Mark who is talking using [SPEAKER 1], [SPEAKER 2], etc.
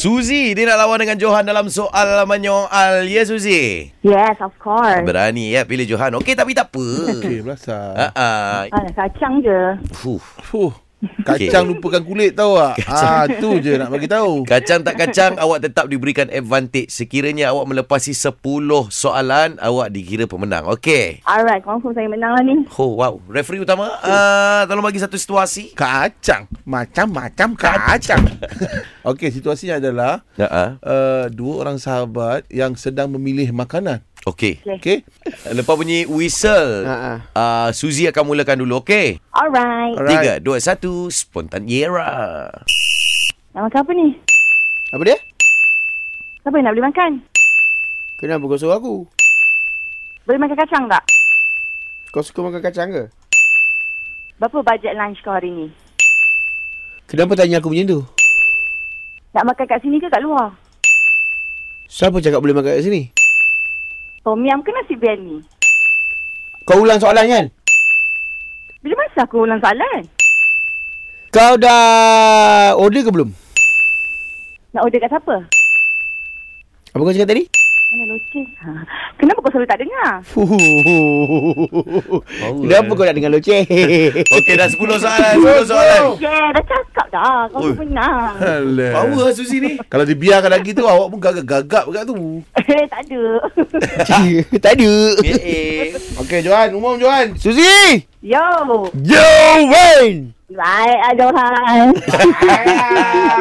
[SPEAKER 1] Suzy dia nak lawan dengan Johan dalam soal menyoal. Ya Suzy.
[SPEAKER 2] Yes, of course.
[SPEAKER 1] Berani ya pilih Johan. Okey tapi tak apa.
[SPEAKER 3] Okey,
[SPEAKER 1] Ha
[SPEAKER 3] belasah.
[SPEAKER 1] ah.
[SPEAKER 2] Ah, kacang je.
[SPEAKER 1] Fuh.
[SPEAKER 3] Fuh. Kacang lupakan kulit tahu tak? Ah, tu je nak bagi tahu.
[SPEAKER 1] Kacang tak kacang awak tetap diberikan advantage sekiranya awak melepasi 10 soalan awak dikira pemenang. Okey.
[SPEAKER 2] Alright, confirm saya menang lah ni.
[SPEAKER 1] Oh wow, referee utama uh, tolong bagi satu situasi.
[SPEAKER 3] Kacang. Macam-macam kacang. Okey, situasinya adalah
[SPEAKER 1] Ha ah.
[SPEAKER 3] uh, dua orang sahabat yang sedang memilih makanan.
[SPEAKER 1] Okey.
[SPEAKER 3] Okey?
[SPEAKER 1] Lepas bunyi whistle,
[SPEAKER 4] Ha,
[SPEAKER 1] uh, Suzy akan mulakan dulu, okey?
[SPEAKER 2] Alright.
[SPEAKER 1] Tiga,
[SPEAKER 3] Alright.
[SPEAKER 1] dua, satu, spontan era.
[SPEAKER 2] Nak makan apa ni?
[SPEAKER 4] Apa dia?
[SPEAKER 2] Siapa yang nak beli makan?
[SPEAKER 4] Kenapa kau suruh aku?
[SPEAKER 2] Boleh makan kacang tak?
[SPEAKER 4] Kau suka makan kacang ke?
[SPEAKER 2] Berapa bajet lunch kau hari ni?
[SPEAKER 4] Kenapa tanya aku macam tu?
[SPEAKER 2] Nak makan kat sini ke kat luar?
[SPEAKER 4] Siapa cakap boleh makan kat sini?
[SPEAKER 2] Tom yam ke nasi biryani?
[SPEAKER 4] Kau ulang soalan kan?
[SPEAKER 2] Bila masa aku ulang soalan?
[SPEAKER 4] Kau dah order ke belum?
[SPEAKER 2] Nak order kat siapa?
[SPEAKER 4] Apa kau cakap tadi?
[SPEAKER 2] Mana loceng? Ha. Kenapa kau selalu tak dengar?
[SPEAKER 1] Oh,
[SPEAKER 4] Kenapa kau nak dengar loceh?
[SPEAKER 1] Okey, dah 10 soalan, 10 soalan.
[SPEAKER 2] Yeah, dah cakap dah. Kau
[SPEAKER 1] Oh. Oi.
[SPEAKER 2] pun menang.
[SPEAKER 3] Alah.
[SPEAKER 1] Power lah Suzy ni.
[SPEAKER 3] Kalau dibiarkan lagi tu awak pun gagap-gagap kat tu.
[SPEAKER 2] Eh, tak ada.
[SPEAKER 4] tak ada.
[SPEAKER 1] Eh, eh.
[SPEAKER 3] Okey, Johan, umum Johan.
[SPEAKER 4] Suzy!
[SPEAKER 2] Yo.
[SPEAKER 4] Yo, Wayne!
[SPEAKER 2] Baik, aduhan.